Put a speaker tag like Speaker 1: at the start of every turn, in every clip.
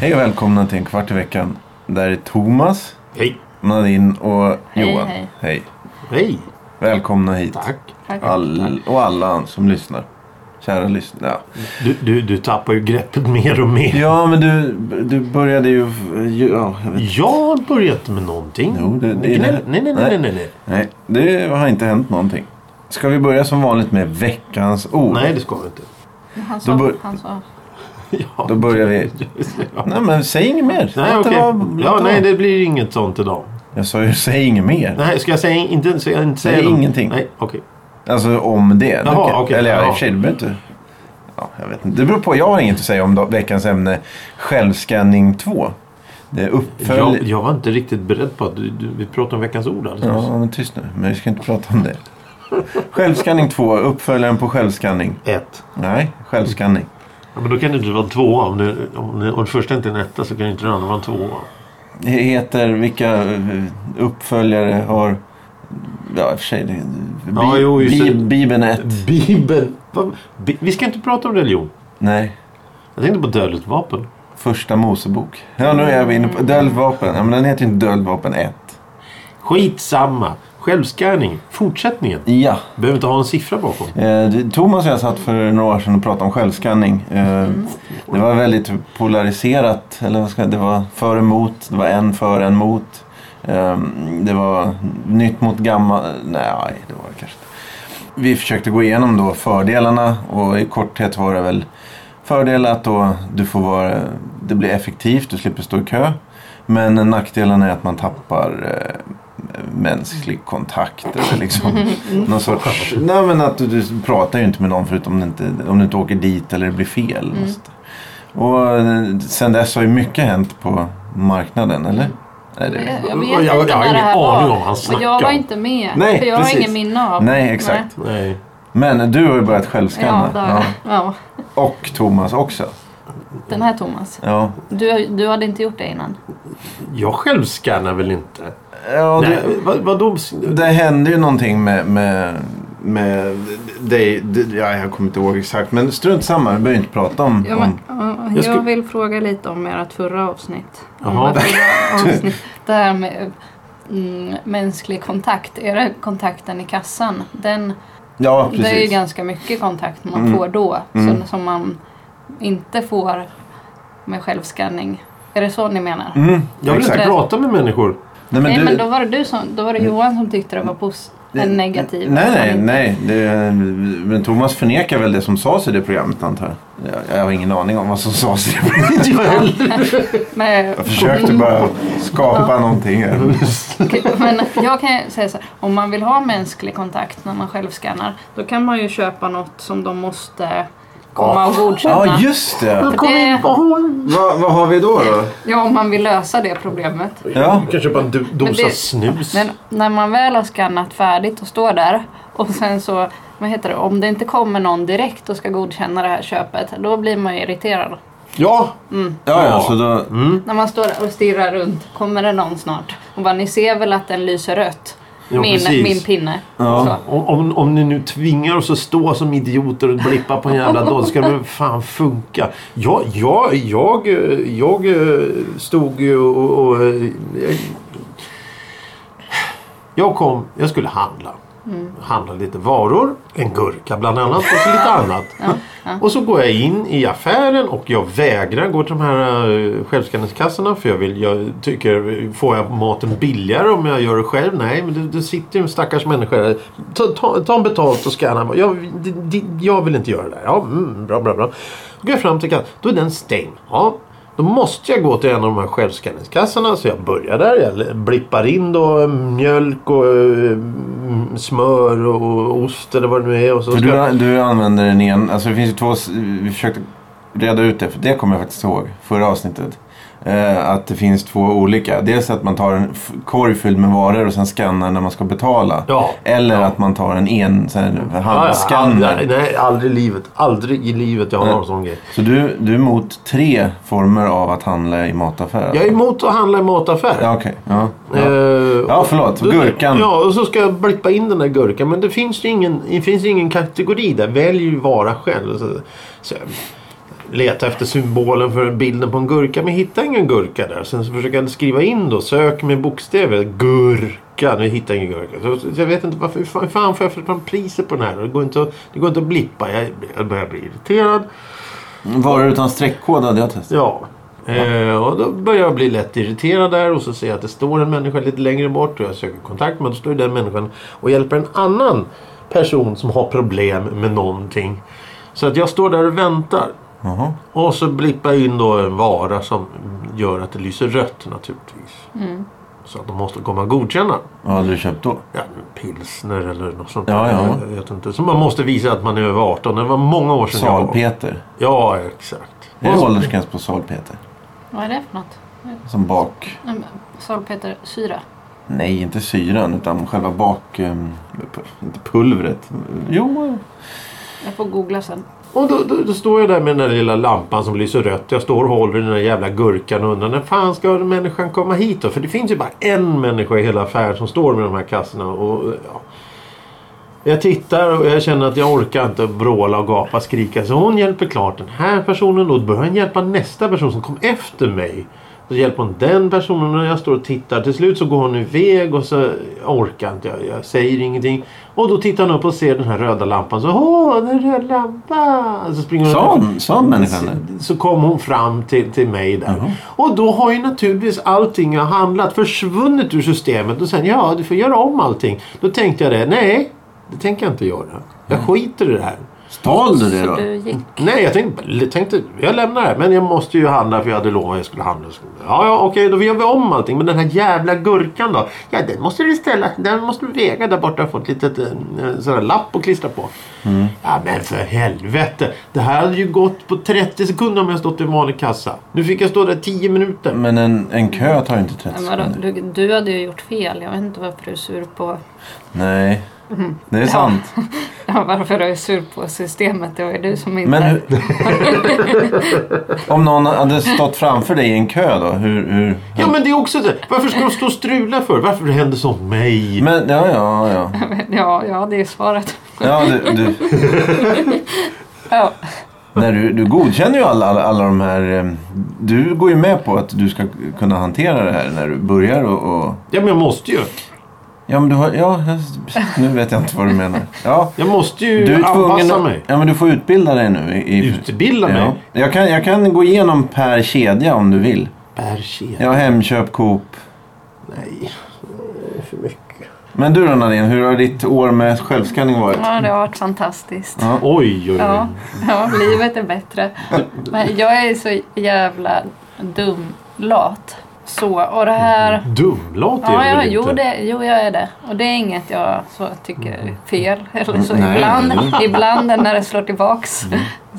Speaker 1: Hej och välkomna till en kvart i veckan. Där är Thomas,
Speaker 2: Hej.
Speaker 1: Nadine och
Speaker 3: Hej,
Speaker 1: Johan.
Speaker 3: hej.
Speaker 2: Hej.
Speaker 1: Välkomna hit.
Speaker 2: Tack.
Speaker 1: All, och alla som lyssnar. Kära lyssnare. Ja.
Speaker 2: Du, du, du tappar ju greppet mer och mer.
Speaker 1: ja, men du, du började ju... Ja, jag vet.
Speaker 2: Jag har börjat med någonting.
Speaker 1: Jo, det- det-
Speaker 2: Gnäll- nej, nej, nej,
Speaker 1: nej.
Speaker 2: nej, nej, nej.
Speaker 1: Nej, det har inte hänt någonting. Ska vi börja som vanligt med veckans ord?
Speaker 2: Nej, det ska vi inte.
Speaker 3: Han
Speaker 1: Då
Speaker 3: sa,
Speaker 1: bör-
Speaker 3: han sa.
Speaker 2: Ja.
Speaker 1: Då börjar vi. Nej, men säg inget mer.
Speaker 2: Nej,
Speaker 1: Låt det
Speaker 2: okej.
Speaker 1: vara- låt
Speaker 2: Ja,
Speaker 1: det
Speaker 2: nej,
Speaker 1: vara.
Speaker 2: det blir inget sånt idag.
Speaker 1: Jag sa ju säg inget mer.
Speaker 2: Nej, ska jag säga inte, ska jag inte säga
Speaker 1: Nej,
Speaker 2: något?
Speaker 1: ingenting.
Speaker 2: Nej, okej.
Speaker 1: Alltså om det. Du
Speaker 2: Jaha,
Speaker 1: kan-
Speaker 2: okej,
Speaker 1: Eller ja, i
Speaker 2: ja.
Speaker 1: och för sig, det behöver inte... Ja, jag vet inte. Det beror på. Jag har inget att säga om då- veckans ämne Självscanning 2. Det är
Speaker 2: Jag,
Speaker 1: uppfölj...
Speaker 2: jag var inte riktigt beredd på att du, du, vi pratade om veckans ord alldeles
Speaker 1: Ja,
Speaker 2: nyss.
Speaker 1: men tyst nu. Men vi ska inte prata om det. Självscanning 2, uppföljaren på självscanning.
Speaker 2: Ett.
Speaker 1: Nej, självscanning.
Speaker 2: Ja, men då kan det inte vara en tvåa. Om det, om det, om det första inte är en etta så kan det inte den andra vara en tvåa.
Speaker 1: Det heter vilka eh, uppföljare har... Ja, i och för sig. Det, bi,
Speaker 2: Ja, jo, just
Speaker 1: bi,
Speaker 2: det.
Speaker 1: Bibeln 1.
Speaker 2: Bibeln. Vad- Bi- Vi ska inte prata om religion.
Speaker 1: Nej,
Speaker 2: Jag tänkte på dödligt vapen.
Speaker 1: Första Mosebok. Ja, nu är vi inne på Döldvapen. Ja, men den heter ju inte Döldvapen 1.
Speaker 2: Skitsamma. Självskanning. Fortsättningen.
Speaker 1: Ja.
Speaker 2: Behöver inte ha en siffra bakom.
Speaker 1: Eh, det- Thomas och jag satt för några år sedan och pratade om självskanning. Eh, Det var väldigt polariserat. Eller vad ska jag, det var för och emot. Det var en för, en mot. Eh, Det var nytt mot gammal. Nej, det var det kanske inte. Vi försökte gå igenom då fördelarna och i korthet var det väl fördel att då du får vara, det blir effektivt, du slipper stå i kö. Men nackdelen är att man tappar eh, mänsklig kontakt. Eller liksom någon sorts, nej men att du, du pratar ju inte med någon förutom om du inte, om du inte åker dit eller det blir fel. och sånt där. Och eh, sen dess har ju mycket hänt på marknaden, eller? Nej, det
Speaker 3: Jag,
Speaker 1: vet
Speaker 3: jag
Speaker 2: Jag-
Speaker 3: vet
Speaker 2: jag- jag
Speaker 3: inte
Speaker 2: har
Speaker 3: när det
Speaker 2: ingen
Speaker 3: här
Speaker 2: aning om
Speaker 3: var.
Speaker 2: vad han
Speaker 3: Men
Speaker 2: snackar
Speaker 3: jag var
Speaker 2: om.
Speaker 3: inte med.
Speaker 1: Nej,
Speaker 3: för jag
Speaker 1: precis.
Speaker 3: har ingen minne av.
Speaker 1: Nej, exakt.
Speaker 2: Nej.
Speaker 1: Men du har ju börjat
Speaker 3: Nej. Ja,
Speaker 1: självskanna.
Speaker 3: där. Ja. Ja.
Speaker 1: Och Thomas också.
Speaker 3: Den här Thomas.
Speaker 1: Ja.
Speaker 3: Du, du hade inte gjort det innan.
Speaker 2: Jag självskannar väl inte?
Speaker 1: Ja,
Speaker 2: Nej,
Speaker 1: det-
Speaker 2: vad, vadå?
Speaker 1: Det hände ju någonting med, med, med dig. d- Ja, jag kommer inte ihåg exakt. Men strunt samma, vi behöver inte prata om...
Speaker 3: Jag,
Speaker 1: om
Speaker 3: men,
Speaker 2: Jag skulle-
Speaker 3: jag vill fråga lite om ert förra avsnitt. Om
Speaker 2: Jaha.
Speaker 3: ert förra avsnitt. Det här med mm, mänsklig kontakt. Är det kontakten i kassan? Den,
Speaker 1: ja,
Speaker 3: det är ju
Speaker 1: precis.
Speaker 3: ganska mycket kontakt man
Speaker 1: Mm.
Speaker 3: får då.
Speaker 1: Mm.
Speaker 3: Som, som man inte får med självskanning. Är det så ni menar?
Speaker 1: Mm,
Speaker 2: Jag vill
Speaker 1: exakt.
Speaker 2: inte prata med människor.
Speaker 1: Nej, men
Speaker 3: nej
Speaker 1: du, Mm.
Speaker 3: men då var det du som, då var det Johan som tyckte det var pos- en negativ.
Speaker 1: Nej, nej,
Speaker 3: Som-
Speaker 1: nej. Det, men Thomas förnekar väl det som sades i det programmet antar jag. Jag, jag har ingen aning om vad som sades i det programmet.
Speaker 3: Men,
Speaker 1: Jag försökte bara skapa någonting här.
Speaker 3: okej, men jag kan ju säga så här, om man vill ha mänsklig kontakt när man själv scannar, då kan man ju köpa något som de måste komma och godkänna.
Speaker 1: Ja, just det.
Speaker 3: det,
Speaker 1: Vad vad har vi då då?
Speaker 3: ja, om man vill lösa det problemet.
Speaker 1: Ja.
Speaker 2: Du kan köpa en do-
Speaker 3: Men
Speaker 2: dosa
Speaker 3: det-
Speaker 2: snus.
Speaker 3: Men när man väl har skannat färdigt och står där och sen så, vad heter det, om det inte kommer någon direkt och ska godkänna det här köpet, då blir man ju irriterad.
Speaker 2: Ja! Mm.
Speaker 1: Ja, ja, så då...
Speaker 3: När man står där och stirrar runt, kommer det någon snart? Och bara, ni ser väl att den lyser rött?
Speaker 2: Ja,
Speaker 3: min,
Speaker 2: precis.
Speaker 3: min pinne.
Speaker 1: Ja.
Speaker 3: Så.
Speaker 2: Om, om, om ni nu tvingar oss att stå som idioter och blippa på en jävla dag, ska det väl fan funka. Jag, jag, jag, eh, jag eh, stod ju och... och eh, jag- jag kom, jag skulle handla. Handla lite varor, en gurka bland annat och så lite annat. Och så går jag in i affären och jag vägrar gå till de här eh, självskanningskassorna för jag, vill, jag tycker, får jag maten billigare om jag gör det själv? Nej, men det, det sitter ju en stackars människa där. Ta, ta, ta en betalt och scanna. Jag, det, det, jag vill inte göra det där. Ja, mm, bra, bra, bra. Då går jag fram till kassan, då är den stängd. Ja, då måste jag gå till en av de här självskanningskassorna. Så jag börjar där. Jag blippar in då eh, mjölk och eh, mm, smör och ost eller vad det nu är. Och så
Speaker 1: För
Speaker 2: ska jag...
Speaker 1: du, du använder den igen. Alltså det finns ju två... s- Vi försökte reda ut det, för det kommer jag faktiskt ihåg. Förra avsnittet. eh, att det finns två olika. Dels att man tar en f- korg fylld med varor och sen skannar när man ska betala.
Speaker 2: Ja.
Speaker 1: Eller
Speaker 2: Ja.
Speaker 1: att man tar en en sån här
Speaker 2: Ja, ja,
Speaker 1: handskanner.
Speaker 2: Nej, aldrig i livet. Aldrig i livet jag har
Speaker 1: Nej.
Speaker 2: någon sån grej.
Speaker 1: Så du, du är emot tre former av att handla i mataffärer?
Speaker 2: Jag är emot att handla i mataffär.
Speaker 1: Ja, okej. Ja,
Speaker 2: Eh,
Speaker 1: ja. ja, förlåt.
Speaker 2: då-
Speaker 1: Gurkan.
Speaker 2: Ja, och så ska jag blippa in den där gurkan. Men det finns ju ingen, det finns ju ingen kategori där. Välj ju vara själv. Så, så jag letar efter symbolen för bilden på en gurka. Men hittar ingen gurka där. Sen så försöker jag skriva in då. Sök med bokstäver. Gurka. Nu hittar jag ingen gurka. Så, så jag vet inte varför. Hur fan- hur fan får jag fram priset på den här? Det går inte att, det går inte att blippa. Jag, jag börjar bli irriterad.
Speaker 1: Varor utan streckkod hade jag testat.
Speaker 2: Ja. Eh, och då börjar jag bli lätt irriterad där och så ser jag att det står en människa lite längre bort och jag söker kontakt med Då står ju den människan och hjälper en annan person som har problem med någonting. Så att jag står där och väntar.
Speaker 1: Jaha.
Speaker 2: Och så blippar jag in då en vara som gör att det lyser rött naturligtvis. Så att de måste komma och godkänna.
Speaker 1: Vad hade du köpt då?
Speaker 2: Ja, pilsner eller något sånt
Speaker 1: Ja,
Speaker 2: där.
Speaker 1: ja.
Speaker 2: Jag vet inte. Så man måste visa att man är över 18. Det var många år sedan jag var.
Speaker 1: Salpeter.
Speaker 2: Ja, exakt.
Speaker 1: Är det åldersgräns på salpeter?
Speaker 3: Vad är det för något?
Speaker 1: Som bak...
Speaker 3: Nej, men Salpetersyra.
Speaker 1: Nej, inte syran utan själva bak... ehm, pu- Inte pulvret. Jo.
Speaker 3: Jag får googla sen.
Speaker 2: Och då, då, då står jag där med den där lilla lampan som lyser rött. Jag står och håller i den där jävla gurkan och undrar när fan ska människan komma hit då? För det finns ju bara en människa i hela affären som står med de här kassorna. Och, ja. Jag tittar och jag känner att jag orkar inte bråla och gapa och skrika. Så hon hjälper klart den här personen och då börjar hon hjälpa nästa person som kom efter mig. Så hjälper hon den personen och jag står och tittar. Till slut så går hon iväg och så jag orkar inte jag. Jag säger ingenting. Och då tittar hon upp och ser den här röda lampan. Så åh, den röda lampan! Så springer
Speaker 1: Sa
Speaker 2: hon
Speaker 1: sa människan det?
Speaker 2: så kom hon fram till, till mig där. Och då har ju naturligtvis allting jag handlat försvunnit ur systemet. Och sen, ja du får göra om allting. Då tänkte jag det, nej det tänker jag inte göra. Jag skiter i det här.
Speaker 1: Stal du det
Speaker 3: Så
Speaker 1: då?
Speaker 3: du gick.
Speaker 2: Nej, jag tänkte, tänkte jag lämnar det här. Men jag måste ju handla för jag hade lovat att jag skulle handla. Så- Ja, ja, okej, då gör vi om allting. Men den här jävla gurkan då? Ja, den måste du ställa. Den måste du väga där borta och få ett litet eh, sån här lapp och klistra på.
Speaker 1: Mm.
Speaker 2: Ja, men för helvete. Det här hade ju gått på 30 sekunder om jag stått i en vanlig kassa. Nu fick jag stå där 10 minuter.
Speaker 1: Men en, en kö tar ju inte 30
Speaker 3: Men vadå,
Speaker 1: sekunder.
Speaker 3: du, du hade ju gjort fel. Jag vet inte varför du är sur på...
Speaker 1: Nej.
Speaker 3: Mhm.
Speaker 1: Det är sant.
Speaker 3: Ja, varför du är sur på systemet. Det var ju du som inte...
Speaker 1: Men hur... Om någon hade stått framför dig i en kö då? Hur... hur...
Speaker 2: Ja, men det är också det. Varför ska de stå och strula för? Varför händer sånt med mig?
Speaker 1: Men ja, ja, ja.
Speaker 3: Ja, ja, det är svaret.
Speaker 1: ja du, du...
Speaker 3: Ja.
Speaker 1: Nej, du, du godkänner ju alla, alla, alla de här... ehm, Du går ju med på att du ska kunna hantera det här när du börjar och... och...
Speaker 2: Ja, men jag måste ju.
Speaker 1: Ja, men du har... Ja, jag- nu vet jag inte vad du menar. Ja.
Speaker 2: Jag måste ju
Speaker 1: Du är
Speaker 2: anpassa
Speaker 1: tvungen...
Speaker 2: mig.
Speaker 1: Ja, men du får utbilda dig nu. I, i...
Speaker 2: Utbilda mig.
Speaker 1: Ja. Jag, kan, jag kan gå igenom per kedja om du vill.
Speaker 2: Bär kedja.
Speaker 1: Ja, Hemköp, Coop.
Speaker 2: Nej, det är för mycket.
Speaker 1: Men du då Nadine, hur har ditt år med självskanning varit?
Speaker 3: ja, det har varit fantastiskt.
Speaker 1: Ja.
Speaker 2: Oj, oj, oj.
Speaker 3: Ja, ja, livet är bättre. Men jag är så jävla dum lat. Så, och det här...
Speaker 2: Dumlat är
Speaker 3: Ja,
Speaker 2: jag
Speaker 3: ja
Speaker 2: väl
Speaker 3: jo,
Speaker 2: inte?
Speaker 3: det, jo, jag är det. Och det är inget jag så tycker är fel. Eller så
Speaker 1: Nej,
Speaker 3: ibland,
Speaker 1: nej.
Speaker 3: ibland när det slår tillbaks.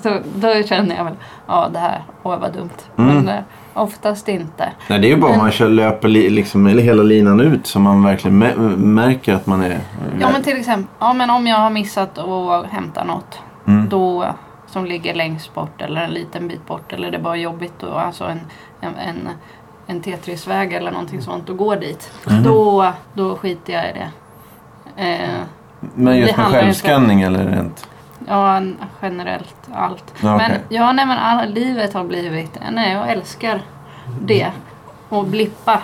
Speaker 3: Så, då känner jag väl, ja det här, åh vad dumt. Men eh, oftast inte.
Speaker 1: Nej, det är ju bara om man kör, löper li, liksom, eller hela linan ut som man verkligen mä- märker att man är...
Speaker 3: Ja men till exempel, ja, men om jag har missat att hämta något
Speaker 1: Mm.
Speaker 3: då, som ligger längst bort eller en liten bit bort eller det är bara jobbigt då, alltså en, en, en, en Tetrisväg eller någonting sånt och går dit. Då, då skiter jag i det. Eh,
Speaker 1: Men
Speaker 3: det
Speaker 1: just med
Speaker 3: handlar ju
Speaker 1: självskanning eller rent...
Speaker 3: ja, en- generellt allt.
Speaker 1: Ja, okej.
Speaker 3: Men ja, nej, men all, livet har blivit, nej jag älskar det. Och blippa.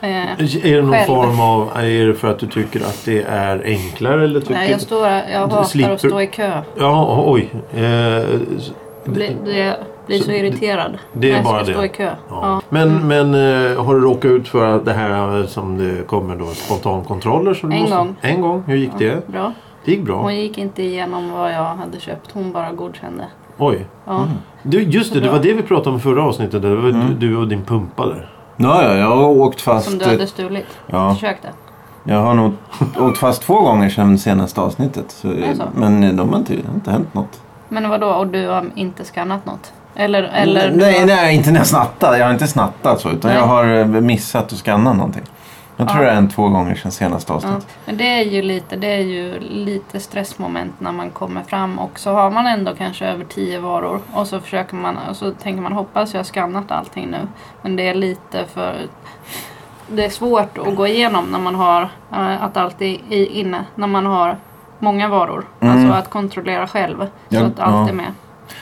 Speaker 3: Eh,
Speaker 2: Är det någon
Speaker 3: Själv.
Speaker 2: form av... Är det för att du tycker att det är enklare eller tycker...
Speaker 3: nej, jag, står, jag
Speaker 2: Du
Speaker 3: hatar
Speaker 2: slipper-
Speaker 3: att stå i kö.
Speaker 2: Ja, oj. Eh, s-
Speaker 3: Blir, jag blir så,
Speaker 2: Så det-
Speaker 3: irriterad
Speaker 2: det är
Speaker 3: när jag
Speaker 2: bara
Speaker 3: ska stå
Speaker 2: det.
Speaker 3: i kö.
Speaker 2: ja. Men, men eh, har du råkat ut för det här eh, som det kommer då? Spontankontroller? Som du
Speaker 3: En
Speaker 2: måste,
Speaker 3: gång.
Speaker 2: En gång? Hur gick det?
Speaker 3: Bra.
Speaker 2: Det gick bra.
Speaker 3: Hon gick inte igenom vad jag hade köpt. Hon bara godkände.
Speaker 2: Oj.
Speaker 3: Ja.
Speaker 1: Mm.
Speaker 2: Du, just det, det var det vi pratade om i förra avsnittet. Det var du, du och din pumpa där.
Speaker 1: Ja, ja, jag har åkt fast...
Speaker 3: Som du hade stulit.
Speaker 1: Ja.
Speaker 3: Försökte.
Speaker 1: Jag har nog åkt fast två gånger sedan senaste avsnittet. Så,
Speaker 3: Är det så?
Speaker 1: men de har inte, det har inte hänt något.
Speaker 3: Men vadå, och du har inte skannat något? Eller, eller du
Speaker 1: nej,
Speaker 3: har...
Speaker 1: nej, inte när jag snattade. Jag har inte snattat så. Utan
Speaker 3: Nej.
Speaker 1: jag har eh, missat att scanna någonting. Jag tror
Speaker 3: Ja.
Speaker 1: det är en två gånger sedan senaste
Speaker 3: Ja,
Speaker 1: avsnittet.
Speaker 3: men det är ju lite, det är ju lite stressmoment när man kommer fram och så har man ändå kanske över tio varor och så försöker man och så tänker man hoppas jag har skannat allting nu. Men det är lite för det är svårt att gå igenom när man har eh, att allt är i, inne när man har många varor.
Speaker 1: Mm.
Speaker 3: Alltså att kontrollera själv
Speaker 1: Ja,
Speaker 3: så att allt
Speaker 1: ja.
Speaker 3: är med.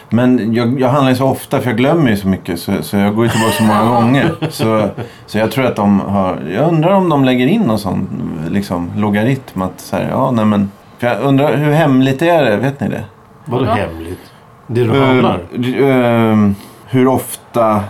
Speaker 1: Men jag, jag handlar ju så ofta för jag glömmer ju så mycket. Så, så jag går ju tillbaka så många gånger. Så, så jag tror att de har... Jag undrar om de lägger in någon sån liksom, logaritm. Att så här, ja, nej men... För jag undrar hur hemligt är det? Vet ni det?
Speaker 2: Vadå
Speaker 3: Ja.
Speaker 2: hemligt? Det du handlar?
Speaker 1: Eh, eh, hur ofta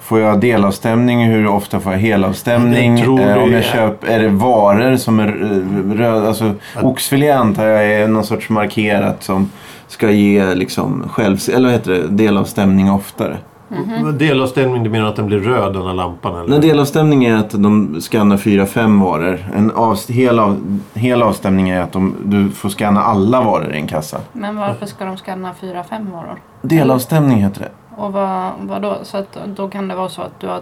Speaker 1: får jag delavstämning? Hur ofta får jag helavstämning?
Speaker 2: Det tror
Speaker 1: Eh,
Speaker 2: du
Speaker 1: om
Speaker 2: är.
Speaker 1: jag köper, är det varor som är eh, röda? Alltså,
Speaker 2: Att-
Speaker 1: oxfilé antar jag är någon sorts markerat som ska ge liksom själv, eller vad heter det, delavstämning oftare.
Speaker 3: Mhm.
Speaker 2: Delavstämning, du menar att den blir röd den här lampan? Eller?
Speaker 1: Nej, delavstämning är att de skannar fyra, fem varor. En av, hel, av, hel avstämning är att de, du får skanna alla varor i en kassa.
Speaker 3: Men varför ska de skanna fyra, fem varor?
Speaker 1: Delavstämning heter det.
Speaker 3: Och vad, vad då? Så att då kan det vara så att du har,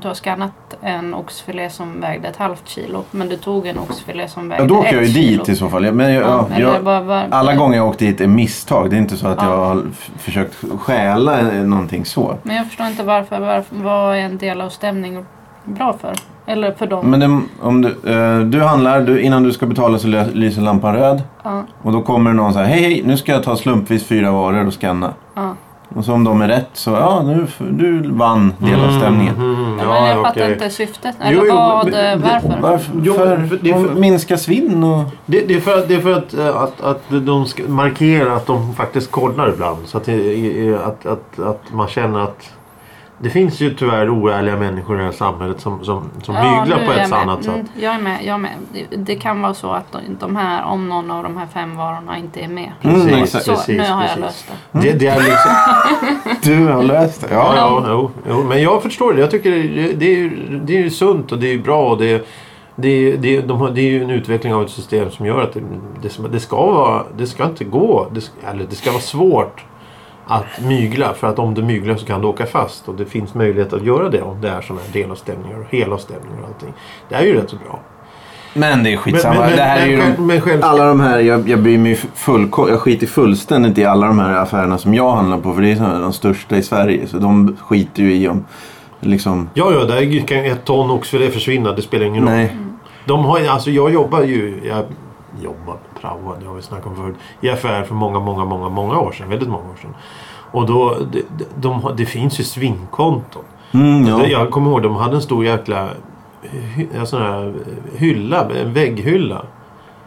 Speaker 3: du har skannat en oxfilé som vägde ett halvt kilo. Men du tog en oxfilé som vägde
Speaker 1: Ja,
Speaker 3: ett
Speaker 1: då
Speaker 3: kilo.
Speaker 1: åker jag ju dit i så fall. Jag- Men jag,
Speaker 3: Ja,
Speaker 1: ja,
Speaker 3: eller
Speaker 1: jag,
Speaker 3: vad- vad-
Speaker 1: Alla gånger jag åkt dit är misstag. Det är inte så att
Speaker 3: Ja.
Speaker 1: jag har f- försökt stjäla eh, någonting så.
Speaker 3: Men jag förstår inte varför, varför. Vad är en del av stämning bra för? Eller för dem?
Speaker 1: Men det, om du, eh, du handlar, du, innan du ska betala så lö- lyser lampan röd.
Speaker 3: Ja,
Speaker 1: Och då kommer det någon så här, hej hej, nu ska jag ta slumpvis fyra varor och scanna.
Speaker 3: ja.
Speaker 1: Och så om de är rätt så, ja nu, f- du vann delavstämningen.
Speaker 2: Mm,
Speaker 3: ja, men jag
Speaker 2: Mm-hmm. ja,
Speaker 3: fattar
Speaker 2: okej.
Speaker 3: inte syftet.
Speaker 2: Jo,
Speaker 3: Eller
Speaker 2: jo,
Speaker 3: vad, eh,
Speaker 2: men- men-
Speaker 3: varför?
Speaker 1: Varför?
Speaker 2: Jo,
Speaker 1: för,
Speaker 2: för det är för-
Speaker 1: de minskar svinn och...
Speaker 2: Det, det är för, att, det är för att, eh, att, att de ska markera att de faktiskt kollar ibland. Så att, det är- är- att, att, att man känner att det finns ju tyvärr oärliga människor i det här samhället som, som, som myglar
Speaker 3: nu
Speaker 2: på
Speaker 3: är jag
Speaker 2: ett
Speaker 3: med.
Speaker 2: annat sätt.
Speaker 3: Mm, jag är med, jag är med. Det, det kan vara så att de- de här, om någon av de här fem varorna inte är med.
Speaker 1: Mm,
Speaker 2: Precis,
Speaker 1: exakt.
Speaker 3: Så, nu har jag
Speaker 2: precis.
Speaker 3: löst det.
Speaker 2: Det, det är liksom,
Speaker 1: Du har löst det.
Speaker 2: ja,
Speaker 1: Ja.
Speaker 2: ja, jo, jo, men jag förstår det. Jag tycker det, det, är, ju- det är ju sunt och det är ju bra. Och det, är- det, är- det, är- de har, det är ju en utveckling av ett system som gör att det, det, som- det ska vara... Det ska inte gå. Det, ska- eller det ska vara svårt att mygla. För att om du myglar så kan du åka fast. Och det finns möjlighet att göra det om det är sådana här delavstämningar och helavstämningar och allting. Det är ju rätt så bra.
Speaker 1: Men det är skitsamma.
Speaker 2: Men- men-
Speaker 1: det här är ju
Speaker 2: men-
Speaker 1: de-
Speaker 2: men själv-
Speaker 1: alla de här, jag, jag bryr mig full, jag skiter fullständigt i alla de här affärerna som jag handlar på. För det är så här, de största i Sverige. Så de skiter ju i om... Liksom,
Speaker 2: Ja, ja, där kan ett ton oxfilé försvinna. Det spelar ingen roll.
Speaker 1: nej.
Speaker 2: De har, ju- alltså jag jobbar ju... Jag jobbar, praoar, det har vi snackat om förut. I affär för många, många, många, många år sedan. Väldigt många år sedan. Och då, de, de, de, har- det finns ju svinkonton.
Speaker 1: Mm,
Speaker 2: Det-
Speaker 1: ja.
Speaker 2: Jag kommer ihåg, de hade en stor jäkla hy, en sån här hylla, en vägghylla.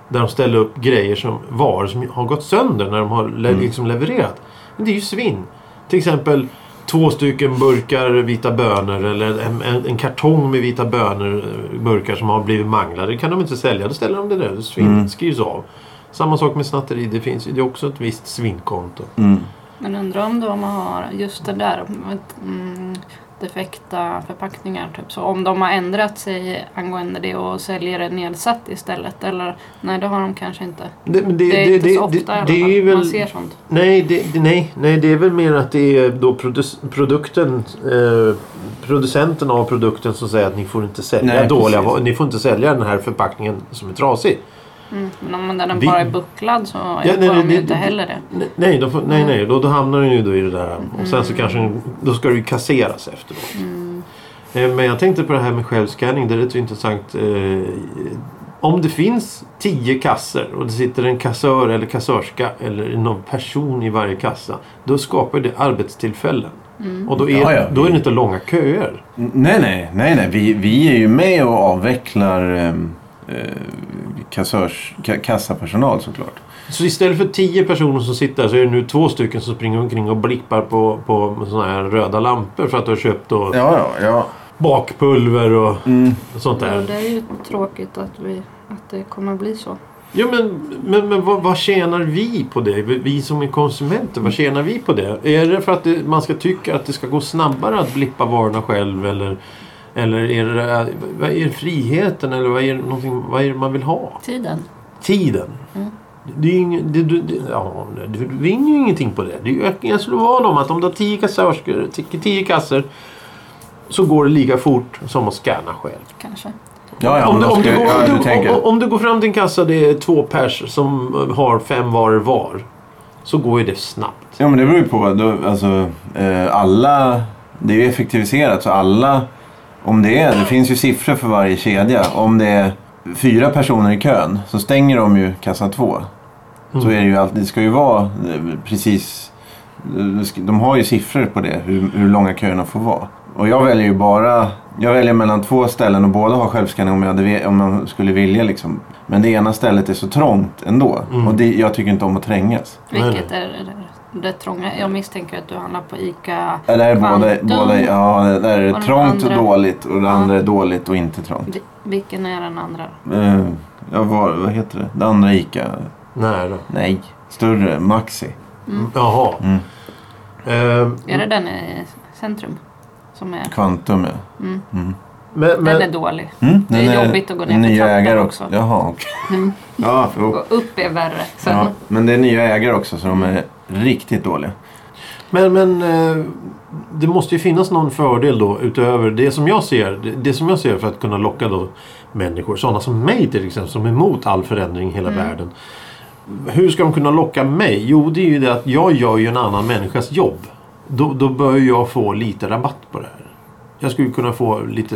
Speaker 2: Där de ställde upp grejer som var som har gått sönder när de har le,
Speaker 1: Mm.
Speaker 2: liksom levererat. Men det är ju svinn. Till exempel två stycken burkar vita bönor eller en, en, en kartong med vita bönor, eh, burkar som har blivit manglade. Det kan de inte sälja. Då ställer de det där. Svinn
Speaker 1: Mm.
Speaker 2: skrivs av. Samma sak med snatteri. Det finns ju det är också ett visst svinnkonto.
Speaker 1: Mm.
Speaker 3: Men undrar om då om man har just det där med mm, defekta förpackningar. Typ. Så om de har ändrat sig angående det och säljer det nedsatt istället. Eller nej, det har de kanske inte.
Speaker 2: Det, men det,
Speaker 3: Det, är
Speaker 2: det,
Speaker 3: inte
Speaker 2: det,
Speaker 3: så ofta
Speaker 2: det,
Speaker 3: i alla
Speaker 2: det är ju
Speaker 3: fall
Speaker 2: väl...
Speaker 3: man ser sånt.
Speaker 2: Nej, det, det- nej, nej, det är väl mer att det är då produ- produkten, eh, producenten av produkten som säger att ni får inte sälja
Speaker 1: Nej,
Speaker 2: dåliga
Speaker 1: precis.
Speaker 2: varor. Ni får inte sälja den här förpackningen som är trasig.
Speaker 3: Mm. Men om den
Speaker 2: Vi-
Speaker 3: bara är bucklad så
Speaker 2: Ja,
Speaker 3: får
Speaker 2: nej,
Speaker 3: de
Speaker 2: det-
Speaker 3: ju
Speaker 2: det-
Speaker 3: inte
Speaker 2: det-
Speaker 3: heller det.
Speaker 2: Nej, Nej, då, får, nej, nej då, då hamnar den ju då i det där. Och sen så kanske den- då ska det ju kasseras efteråt. Eh, Men jag tänkte på det här med självscanning. Det är rätt intressant. Eh, Om det finns tio kasser och det sitter en kassör eller kassörska eller någon person i varje kassa. Då skapar det arbetstillfällen. Och då är,
Speaker 1: Ja, ja.
Speaker 2: då är det inte långa köer.
Speaker 1: Nej, nej, nej, nej. Vi, vi är ju med och avvecklar ehm, eh, kassörs, ka, kassapersonal såklart.
Speaker 2: Så istället för tio personer som sitter där så är det nu två stycken som springer omkring och blippar på, på såna här röda lampor för att du har köpt då
Speaker 1: Ja, ja, ja.
Speaker 2: bakpulver och
Speaker 1: Mm.
Speaker 2: sånt
Speaker 3: Ja,
Speaker 2: där.
Speaker 3: det är ju tråkigt att, vi, att det kommer bli så.
Speaker 2: Ja, men, men, men vad, vad tjänar vi på det? Vi som är konsumenter, vad tjänar vi på det? Är det för att det, man ska tycka att det ska gå snabbare att blippa varorna själv? Eller, eller är det, vad är friheten? Eller vad är, det någonting- vad är det man vill ha?
Speaker 3: Tiden.
Speaker 2: Tiden. Det, är ju ing, det, det, det, ja, det vinner ju ingenting på det. det är ju, jag skulle vara om att om du har 10 kassörskor, 10 kasser så går det lika fort som att scanna själv.
Speaker 3: kanske.
Speaker 1: Ja, ja,
Speaker 2: Om, du, om,
Speaker 1: ska-
Speaker 2: du, går-
Speaker 1: ja,
Speaker 2: om,
Speaker 1: du
Speaker 2: du,
Speaker 1: tänker.
Speaker 2: om, om du går fram till en kassa det är två pers som har fem varor var. Så går ju det snabbt.
Speaker 1: Ja, men det beror ju på. vad du- Alltså, eh, alla, det är ju effektiviserat så alla, om det är, det finns ju siffror för varje kedja. Om det är fyra personer i kön så stänger de ju kassa två. Så är det ju alltid, det ska ju vara eh, precis, eh, de har ju siffror på det, hur, hur långa köerna får vara. Och jag väljer ju bara, jag väljer mellan två ställen och båda har självskanning om jag, hade, ve- om jag skulle vilja liksom. Men det ena stället är så trångt ändå.
Speaker 2: Mm.
Speaker 1: Och det, jag tycker inte om att trängas.
Speaker 3: Vilket är det, det trånga. Jag misstänker att du handlar på ICA.
Speaker 1: Ja, Där är båda,
Speaker 3: Kvantum.
Speaker 1: båda, ja, där är
Speaker 3: Och
Speaker 1: det
Speaker 3: den
Speaker 1: trångt
Speaker 3: andra-
Speaker 1: och dåligt och det
Speaker 3: Ja.
Speaker 1: andra är dåligt och inte trångt.
Speaker 3: Vi- Vilken är den andra?
Speaker 1: Eh, ja, vad, vad heter det? Det andra ICA?
Speaker 2: Nej då.
Speaker 1: Nej, större Maxi.
Speaker 2: Jaha.
Speaker 1: Mm.
Speaker 2: Ehm,
Speaker 3: Är det den i centrum? Som är,
Speaker 1: Kvantum ja.
Speaker 3: Mm.
Speaker 1: Mm.
Speaker 2: men,
Speaker 3: den är
Speaker 2: men,
Speaker 3: dålig.
Speaker 1: Mm,
Speaker 3: Det är
Speaker 1: den
Speaker 3: jobbigt att gå ner för
Speaker 1: nya
Speaker 3: trappan
Speaker 1: ägare
Speaker 3: också.
Speaker 1: också. Jaha, okej.
Speaker 3: Mm.
Speaker 1: Ja, jo.
Speaker 3: Och upp är värre. Sen.
Speaker 1: ja, men det är nya ägare också så de är riktigt dåliga.
Speaker 2: men, men eh, det måste ju finnas någon fördel då utöver det som jag ser. Det, det som jag ser för att kunna locka då människor. Sådana som mig till exempel som är emot all förändring i hela världen. Hur ska de kunna locka mig? Jo, det är ju det att jag gör ju en annan människas jobb. Då, då bör ju jag få lite rabatt på det här. Jag skulle kunna få lite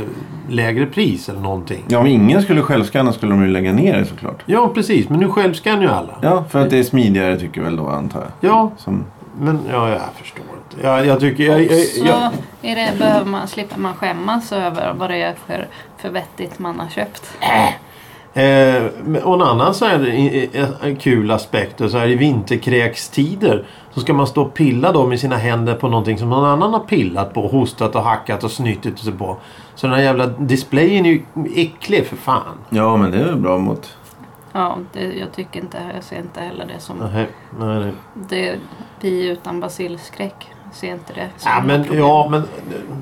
Speaker 2: lägre pris eller någonting.
Speaker 1: Ja, om ingen skulle självskanna skulle de ju lägga ner det såklart.
Speaker 2: Ja, precis. Men nu självskannar ju alla.
Speaker 1: Ja, för att det är smidigare tycker väl då antar jag.
Speaker 2: Ja,
Speaker 1: Som,
Speaker 2: men ja, jag förstår inte. Jag, jag tycker... Jag, jag,
Speaker 3: Så
Speaker 2: jag,
Speaker 3: är det, behöver man, slipper man skämmas över vad det är för, för vettigt man har köpt.
Speaker 2: Eh, men- och en annan så här, eh, eh, kul aspekt och så här, i vinterkräkstider så ska man stå och pilla då med sina händer på någonting som någon annan har pillat på, hostat och hackat och snyttit sig på. Så den här jävla displayen är ju äcklig för fan.
Speaker 1: ja, men det är väl bra mot...
Speaker 3: Ja, det, jag tycker inte, jag ser inte heller det som...
Speaker 2: Nej, nej, nej.
Speaker 3: Det är pi utan basilskräck. Jag ser inte det som
Speaker 2: Ja,
Speaker 3: något
Speaker 2: men,
Speaker 3: problem.
Speaker 2: ja, men,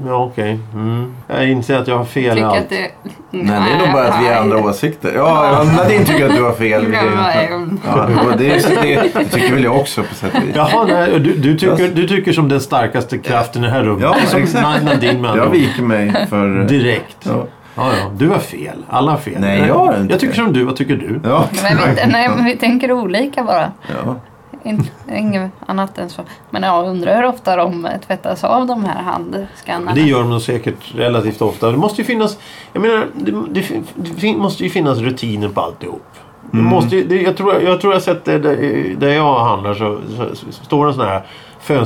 Speaker 2: ja, okej. Mm. Jag inser att jag har fel i
Speaker 3: Tycker att
Speaker 2: allt.
Speaker 3: det...
Speaker 1: Nej, det är nog bara att vi har andra åsikter. Ja, ja Nadine tycker att du har fel.
Speaker 3: Ja, men-
Speaker 1: Ja, och det, det, det tycker väl jag också på sätt och vis.
Speaker 2: Jaha, nej, och du, du, tycker,
Speaker 1: Jag-
Speaker 2: du tycker som den starkaste kraften i det här rummet. Liksom
Speaker 1: Ja,
Speaker 2: som
Speaker 1: exakt.
Speaker 2: Nadine med andra
Speaker 1: Jag
Speaker 2: ord.
Speaker 1: viker mig för...
Speaker 2: Direkt.
Speaker 1: Ja.
Speaker 2: Ja, ja. Du har fel. Alla har fel.
Speaker 1: Nej, jag har inte
Speaker 2: Jag tycker
Speaker 1: det.
Speaker 2: som du. Vad tycker du?
Speaker 1: Ja.
Speaker 3: Men vi, nej, men vi tänker olika bara.
Speaker 1: Ja.
Speaker 3: In, inget annat än så. Men jag undrar hur ofta de tvättas av de här handskallarna.
Speaker 2: Det gör de nog säkert relativt ofta. Det måste ju finnas... Jag menar, det, det, fin- det fin- måste ju finnas rutiner på alltihop. Det måste ju, det, jag, tror, jag tror jag har sett det där, där jag handlar så, så, så står det en sån här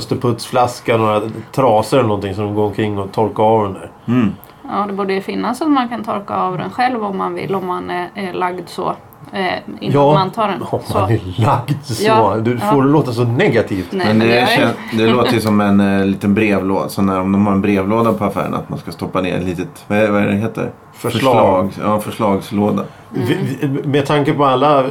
Speaker 2: fönsterputsflaska, några trasor eller någonting som de går omkring och torkar av den där.
Speaker 1: Mm.
Speaker 3: Ja, det borde ju finnas att man kan torka av den själv om man vill, om man är, är lagd så. Eh, innan
Speaker 2: Ja,
Speaker 3: man tar den.
Speaker 2: Om
Speaker 3: så.
Speaker 2: man är lagd så.
Speaker 3: Ja,
Speaker 2: du
Speaker 3: ja.
Speaker 2: får det låta så negativt.
Speaker 3: Nej,
Speaker 1: Men
Speaker 3: men
Speaker 1: det,
Speaker 3: jag är,
Speaker 1: kän- det låter ju som en eh, liten brevlåda. Så när, om de har en brevlåda på affären att man ska stoppa ner ett litet... Vad är, vad är det heter?
Speaker 2: Förslag.
Speaker 1: ja, förslagslåda.
Speaker 2: Vi, vi- med tanke på alla eh,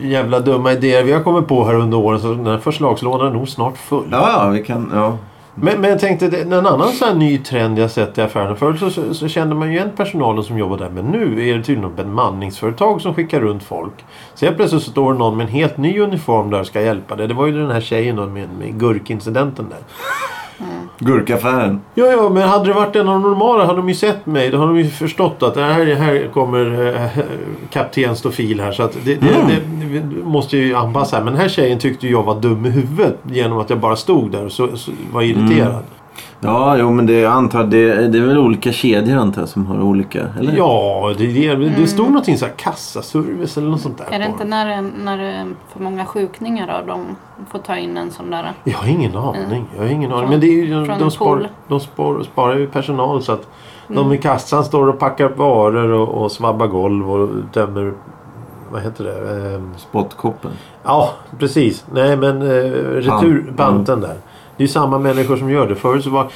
Speaker 2: jävla dumma idéer vi har kommit på här under åren så den här förslagslådan är nog snart full.
Speaker 1: Ja, ja, vi kan... Ja.
Speaker 2: Men, men jag tänkte, det- en annan sån här ny trend jag sett i affären. Förut så, så, så kände man ju igen personalen som jobbade där. Men nu är det tydligen något bemanningsföretag som skickar runt folk. Så helt plötsligt så står det någon med en helt ny uniform där och ska hjälpa dig. Det var ju den här tjejen då med, med gurkincidenten där.
Speaker 1: Gurkaffären.
Speaker 2: Ja, ja, men hade det varit en av de normala hade de ju sett mig. Då hade de ju förstått att det här, här kommer äh, kapten Stofil här. Så att det, det,
Speaker 1: Mm.
Speaker 2: det, vi måste ju anpassa här. Men den här tjejen tyckte ju jag var dum i huvudet genom att jag bara stod där och så, så var
Speaker 1: Mm.
Speaker 2: irriterad.
Speaker 1: Ja, jo, men det, jag antar det, det är väl olika kedjor antar jag som har olika... Eller?
Speaker 2: Ja, det, det, det stod någonting så här kassaservice eller något sånt där.
Speaker 3: Mm. är
Speaker 2: på
Speaker 3: det inte
Speaker 2: den.
Speaker 3: när det, när det är för många sjukningar då de får ta in en sån där?
Speaker 2: Jag har ingen aning. Jag har ingen aning.
Speaker 3: Från-
Speaker 2: Men det är ju,
Speaker 3: från
Speaker 2: de, de,
Speaker 3: pool.
Speaker 2: spar,
Speaker 3: Mm.
Speaker 2: de spar, sparar ju personal så att de i kassan står och packar varor och, och svabbar golv och tömmer vad heter det? Ehm,
Speaker 1: Spottkoppen.
Speaker 2: Ja, precis. Nej, men eh, retur,
Speaker 1: Pant.
Speaker 2: panten
Speaker 1: Mm.
Speaker 2: där. Det är ju samma människor som gör det. Förut så var...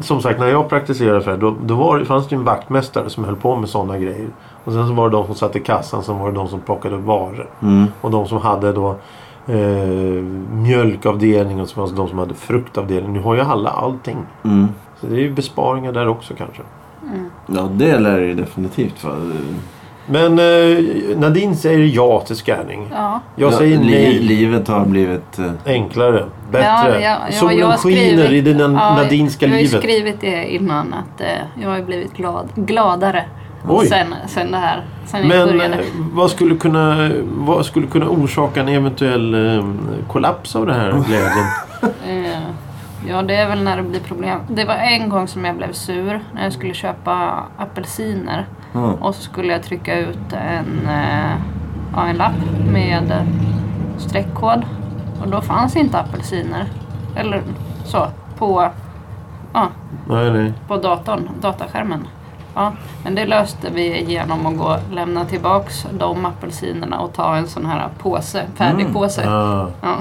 Speaker 2: Som sagt, när jag praktiserade för det, då, då var, det- fanns det ju en vaktmästare som höll på med sådana grejer. Och sen så var det de som satt i kassan som var det de som plockade upp varor.
Speaker 1: Mm,
Speaker 2: Och de som hade då eh, mjölkavdelning och så fanns det de som hade fruktavdelning. Nu har ju alla allting.
Speaker 1: Mm.
Speaker 2: Så det är ju besparingar där också kanske.
Speaker 1: Ja, det lär det ju definitivt vara.
Speaker 2: Men eh, Nadine säger ja till scanning.
Speaker 3: Ja.
Speaker 2: Jag
Speaker 1: Ja,
Speaker 2: säger
Speaker 1: li-
Speaker 2: nej.
Speaker 1: Livet har blivit... eh,
Speaker 2: Enklare,
Speaker 3: Ja, ja,
Speaker 2: bättre.
Speaker 3: ja, jag
Speaker 2: Solen
Speaker 3: har
Speaker 2: skiner
Speaker 3: skrivit-
Speaker 2: i det na- nadinska
Speaker 3: jag har ju
Speaker 2: livet.
Speaker 3: skrivit det innan att eh, jag har blivit glad, gladare
Speaker 2: Oj.
Speaker 3: sen, sen det här. Sen jag
Speaker 2: Men
Speaker 3: började.
Speaker 2: eh, vad skulle, kunna, vad skulle kunna orsaka en eventuell eh, kollaps av den här glädjen?
Speaker 3: Eh, ja, det är väl när det blir problem. Det var en gång som jag blev sur när jag skulle köpa apelsiner.
Speaker 1: Mm.
Speaker 3: Och så skulle jag trycka ut en, eh, ja, en lapp med eh, streckkod. Och då fanns inte apelsiner. Eller så. På, ja,
Speaker 2: Nej, nej.
Speaker 3: på datorn, dataskärmen. Ja, men det löste vi genom att gå, lämna tillbaks de apelsinerna och ta en sån här påse, färdig påse.
Speaker 2: Ah.
Speaker 3: Ja.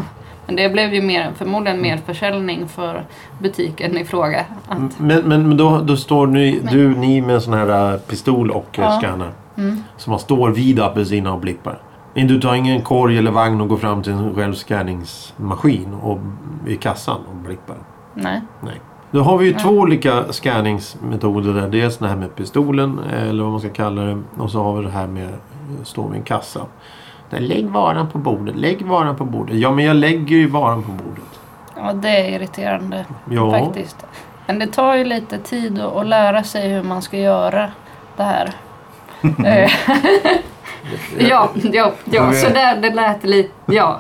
Speaker 3: Men det blev ju mer, förmodligen mer försäljning för butiken i fråga. Att,
Speaker 2: Men, men, men då, då står ni, du ni med en sån här eh, pistol och ja.
Speaker 3: Ja. Mm.
Speaker 2: scanner. Så man står vid apelsinen och blippar. Men du tar ingen korg eller vagn och går fram till en självscanningsmaskin och, i kassan och blippar?
Speaker 3: Nej.
Speaker 2: Nej. Då har vi ju två olika scanningsmetoder där. Dels den här med pistolen eller vad man ska kalla det. Och så har vi det här med att stå vid en kassa. Där, lägg varan på bordet, lägg varan på bordet. Ja men jag lägger ju varan på bordet.
Speaker 3: Ja, det är irriterande
Speaker 2: Ja.
Speaker 3: faktiskt. Men det tar ju lite tid att, att lära sig hur man ska göra det här. Eh, ja, ja, ja, så där, det lät lite... Ja,